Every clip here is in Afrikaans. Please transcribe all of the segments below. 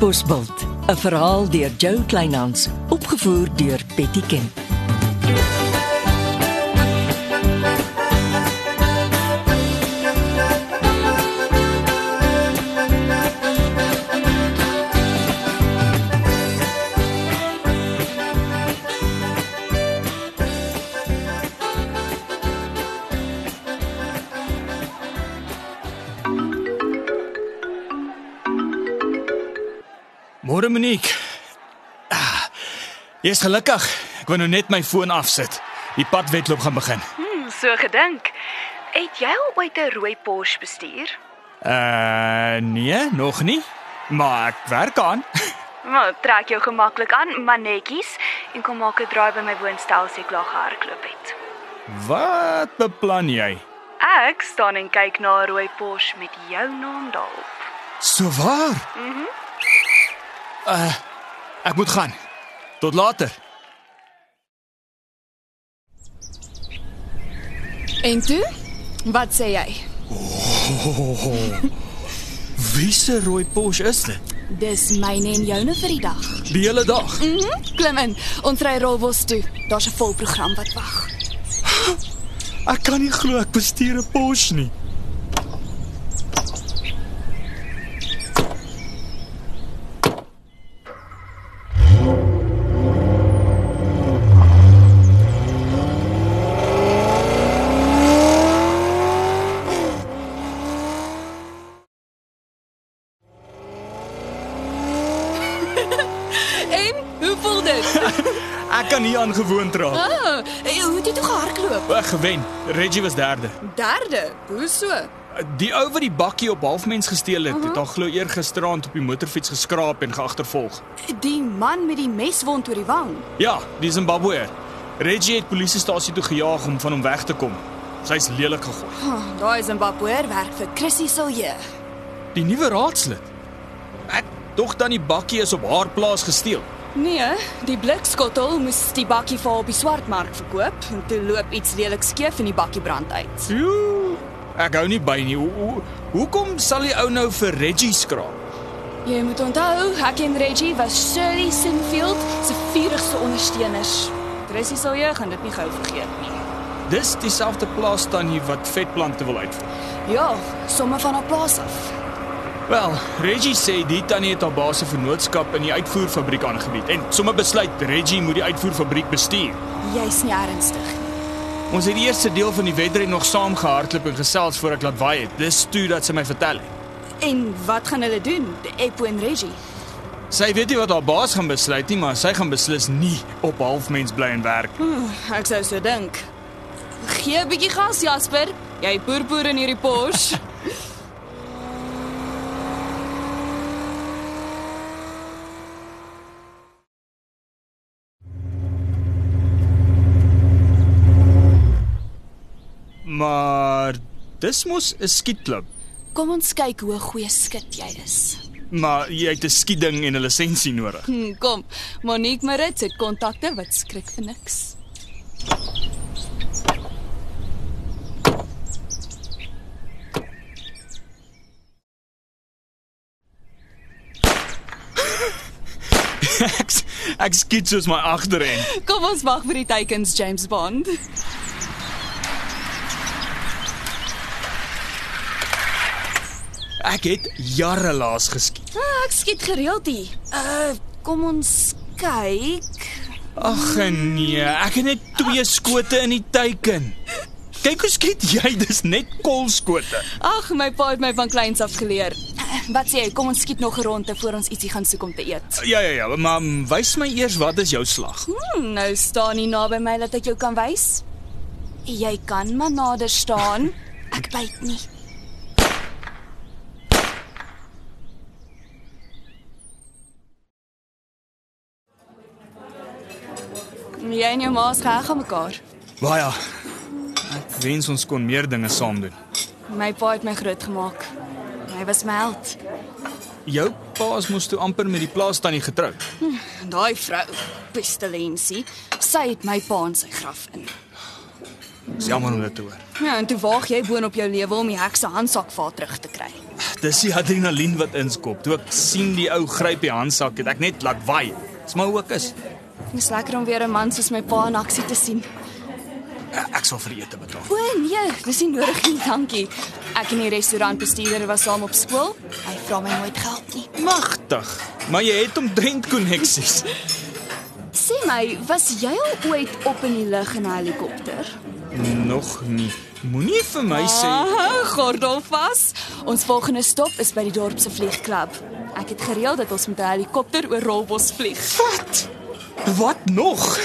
Bosbult, 'n verhaal deur Jo Kleinhans, opgevoer deur Betty Ken. Môre Monique. Ah, Jy's gelukkig. Ek wou nou net my foon afsit. Die padwedloop gaan begin. Hmm, so gedink. Het jy al ooit 'n rooi Porsche bestuur? Uh nee, nog nie. Maar ek werk aan. Maar trek jou gemaklik aan, maar netjies en kom maak 'n draai by my woonstel as jy klaar gehardloop het. Wat beplan jy? Ek staan en kyk na 'n rooi Porsche met jou naam daarop. So waar? Mhm. Mm uh ek moet gaan. Tot later. En toe? Wat sê jy? Wie se rooi Porsche is dit? Dis myne en joune vir die dag. Die hele dag. Mhm, Klim in. Ons ry Rolbos toe. Daar's 'n vol program wat wag. Ek kan nie glo ek bestuur 'n Porsche nie. En hoe voel dit? Ek kan nie aangewoond raak. Oh, eh, hoe het jy toe gehardloop? Ek gewen. Reggie was derde. Derde. Hoe so? Die ou wat die bakkie op halfmens gesteel het, het al glo eergisteraand op die motorfiets geskraap en geagtervolg. Die man met die meswond oor die wang. Ja, die Zimbabweër. Reggie het polisiestasie toe gejaag om van hom weg te kom. Sy's lelik gegooi. Oh, Daai Zimbabweër werk vir Chrissy Silje. Die nuwe raadslid. Ek dog dan die bakkie is op haar plaas gesteel. Nee, die blikskottel moes die bakkie vir haar op die swartmark verkoop en toe loop iets lelik skeef en die bakkie brand uit. Joe, ek hou nie by nie. Hoe- hoe- Hoekom sal die ou nou vir Reggie skraap? Jy moet onthou, ek en Reggie was Shirley Sinfield se vurigste ondersteuners. Chrissy Silje gaan dit nie gou vergeet nie. Dis dieselfde plaas tannie wat vetplante wil uitvoer. Ja, somme van haar plaas af. Wel, Reggie sê die tannie het haar baas se vennootskap in die uitvoerfabriek aangebied en sommer besluit Reggie moet die uitvoerfabriek bestuur. Jy's nie ernstig. Ons het die eerste deel van die wedren nog saam gehardloop en gesels voor ek laat waai het. Dis toe dat sy my vertel het. En wat gaan hulle doen? Epo en Reggie. Sy weet nie wat haar baas gaan besluit nie, maar sy gaan beslis nie op halfmens bly en werk. nie. Oeh, ek sou so dink. Gee 'n bietjie gas, Jasper. Jy boerboer in hierdie Porsche. Maar dis mos 'n skietklub. Kom ons kyk hoe 'n goeie skit jy is. Maar jy het 'n skieding en 'n lisensie nodig. Hm, kom. Monique Merits het kontakte wat skrik vir niks. Ek s- ek skiet soos my agterend. Kom ons wag vir die teikens James Bond. Ek het jare laas geskiet. Ah, ek skiet gereeld hier. Uh, kom ons kyk. Ag nee, ek het net twee skote in die teiken. Kyk hoe skiet jy, dis net kolskote. Ag, my pa het my van kleins af geleer. Wat sê jy, kom ons skiet nog 'n ronde voor ons ietsie gaan soek om te eet. Ja ja ja, maar wys my eers wat is jou slag? Hmm, nou staan nie naby my dat ek jou kan wys. Jy kan maar nader staan. Ek byt nie. Jy en jou ma's reg aan mekaar. Baie. Ek wens ons kon meer dinge saam doen. My pa het my grootgemaak. Hy was my held. Jou paas moes toe amper met die plaas tannie getrou. Daai vrou, pestilensie, sy het my pa in sy graf in. Dis jammer om dit te hoor. Ja, en toe waag jy boonop jou lewe om die hekse handsak vaar terug te kry. Dis die adrenalien wat inskop. Toe ek sien die ou gryp die handsak het ek net laat waai. Dis my ook is. Dis lekker om weer 'n man soos my pa in aksie te sien. Ek sal vir die ete betaal. O nee, dis nie nodig nie, dankie. Ek en die restaurantbestuurder was saam op skool. Hy vra my nooit geld nie. Magtig. Maar jy het omtrent koneksies. Sê my, was jy al ooit op in die lug in 'n helikopter? Nog nie. Moenie vir my sê Ah, gordel vas. Ons volgende stop is by die dorp se vliegklub. Ek het gereël dat ons met 'n helikopter oor Rolbos vlieg. wat. Wat nog?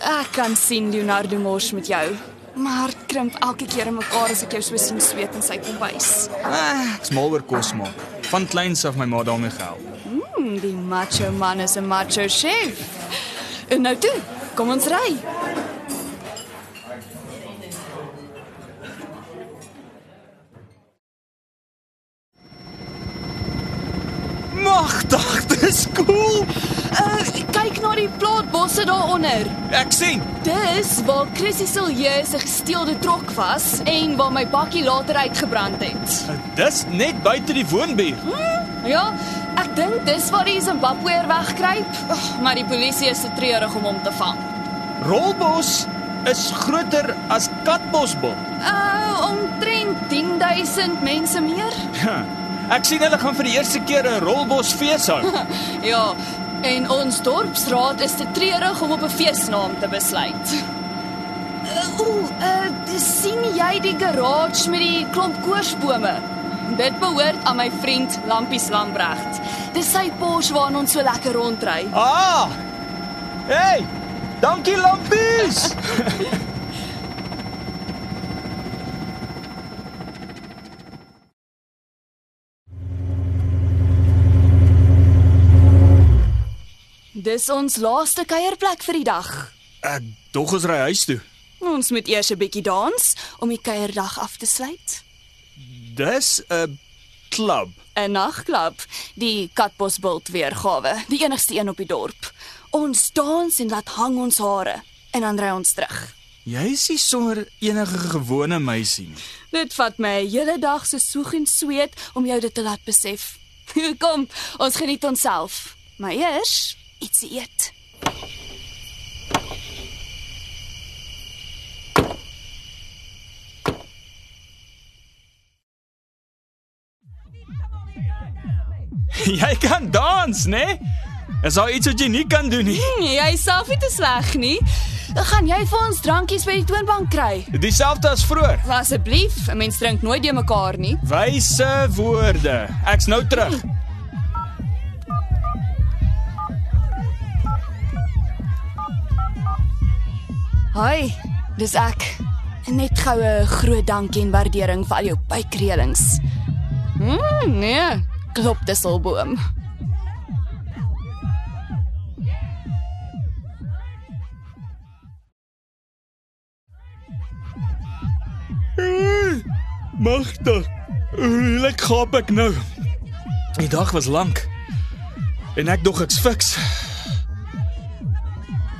Ek kan sien Leonardo mors met jou. Maar het krimp elke keer in mekaar as ek jou so sien sweet in sy kombuis. Ah, ek's mal oor kos maak. Van kleins af my ma daarmee gehelp. Mm, die macho man is 'n macho chef. En nou toe, kom ons ry. Magtig, dis cool. Uh, kyk na die plaatbosse daaronder. Ek sien. Dis waar Chrissy Silje se gesteelde trok was en waar my bakkie later uitgebrand het. Dis net buite die woonbuur. Ja, ek dink dis waar die Zimbabweër wegkruip, Ugh, maar die polisie is te treurig om hom te vang. Rolbos is groter as Katbosbos. Uh, omtrent 10000 mense meer? Ek sien hulle gaan vir die eerste keer 'n rolbos fees hou. Ja, en ons dorpsraad is te treurig om op 'n feesnaam te besluit. Uh, Ooh, uh, dis- sien jy die garage met die klomp koorsbome? Dit behoort aan my vriend Lampies Lambrecht. Dis sy Porsche waarin ons so lekker rondry. Ah! Hey! Dankie Lampies. Dis ons laaste kuierplek vir die dag. Ek dog ons ry huis toe. Ons moet eers 'n bietjie dans om die kuierdag af te sluit. Dis 'n klub. 'n Nagklub, die Katbosbult weergawe, die enigste een op die dorp. Ons dans en laat hang ons hare en dan ry ons terug. Jy is nie sommer enige gewone meisie nie. Dit vat my 'n hele dag se soeg en sweet om jou dit te laat besef. Kom, ons geniet onsself. Maar eers ietsie eet. Jy kan dans, né? Is daar iets wat jy nie kan doen nie? Hm, Jy is self nie te sleg nie. Gaan jy vir ons drankies by die toonbank kry? Dieselfde as vroeër. Asseblief, 'n mens drink nooit de mekaar nie. Wyse woorde. Ek's nou terug. Hoi, dis ek. Net goue groot dankie en waardering vir al jou bykrelings. Mm, nee, klop disselboom. Magtig. Hoe lekker gaap ek nou. Die dag was lank. En ek dog ek's fiks.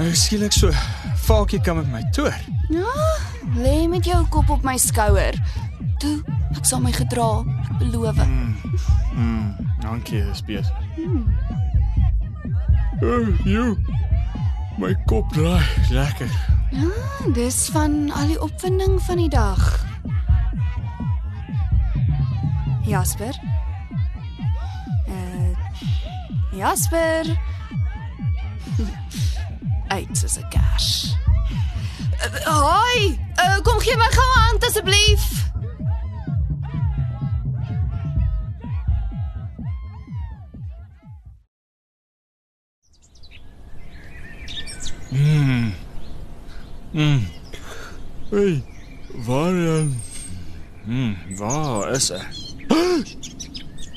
Ek skielik so valkie kom met my toer. Ja, Lê met jou kop op my skouer. Toe, ek sal my gedra, ek beloof. Dankie, dis beter. Oh, jy. My kop draai lekker. Mm, dis van al die opwinding van die dag. Jasper. Uh, Jasper. Uit soos 'n kers. Uh, hoi, uh, kom gee my gou 'n hand asseblief. Hey, waar dan? Hm, waar is hy?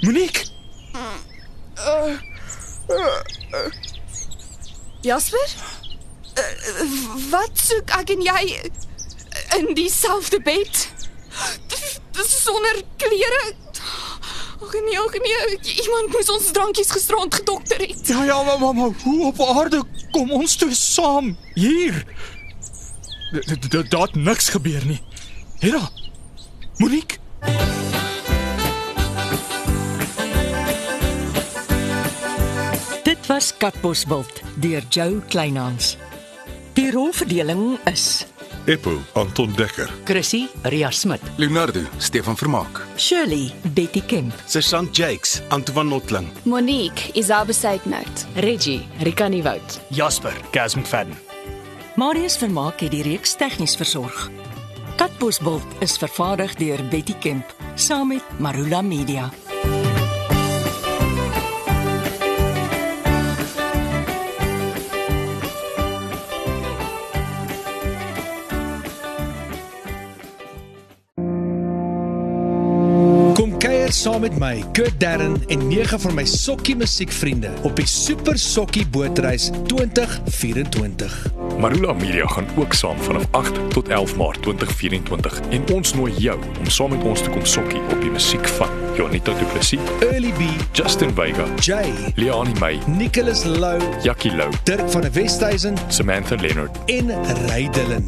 Monique, Jasper? Uh, wat soek ek en jy in dieselfde bed? Dis sonder klere. Ag nee, ag nee, iemand moes ons drankies gisterand gedokter het. ja ja, mamma, mamma, hoe op aarde kom ons toe saam hier? Daar niks gebeur nie. Hera. Monique was Katbosveld deur Jo Kleinhans. Die rolverdeling is Eppo Anton Dekker. Chrissy Ria Smit. Leonardo Stefan Vermaak. Shirley Betty Kemp, Sergeant Jakes, Antoine Notling. Monique Isabel Seidnout. Reggie Rikani Wout. Jasper Gaz McFadden. Marius Vermaak het die reeks tegnies versorg. Katbosveld is vervaardig deur Betty Kemp saam met Marula Media. Kom kuier saam met my, Kurt Darren en nege van my sokkie musiekvriende op die Super Sokkie Bootreis 2024. Marula Media gaan ook saam vanaf 8 tot 11 Maart 2024 en ons nooi jou om saam met ons te kom sokkie op die musiek van Jonita Du Plessis, Early B, Justin Vega, Jay, Leani May, Nicholas Lou, Jackie Lou, Dirk van der Westhuizen Samantha Leonard. en Rydelin.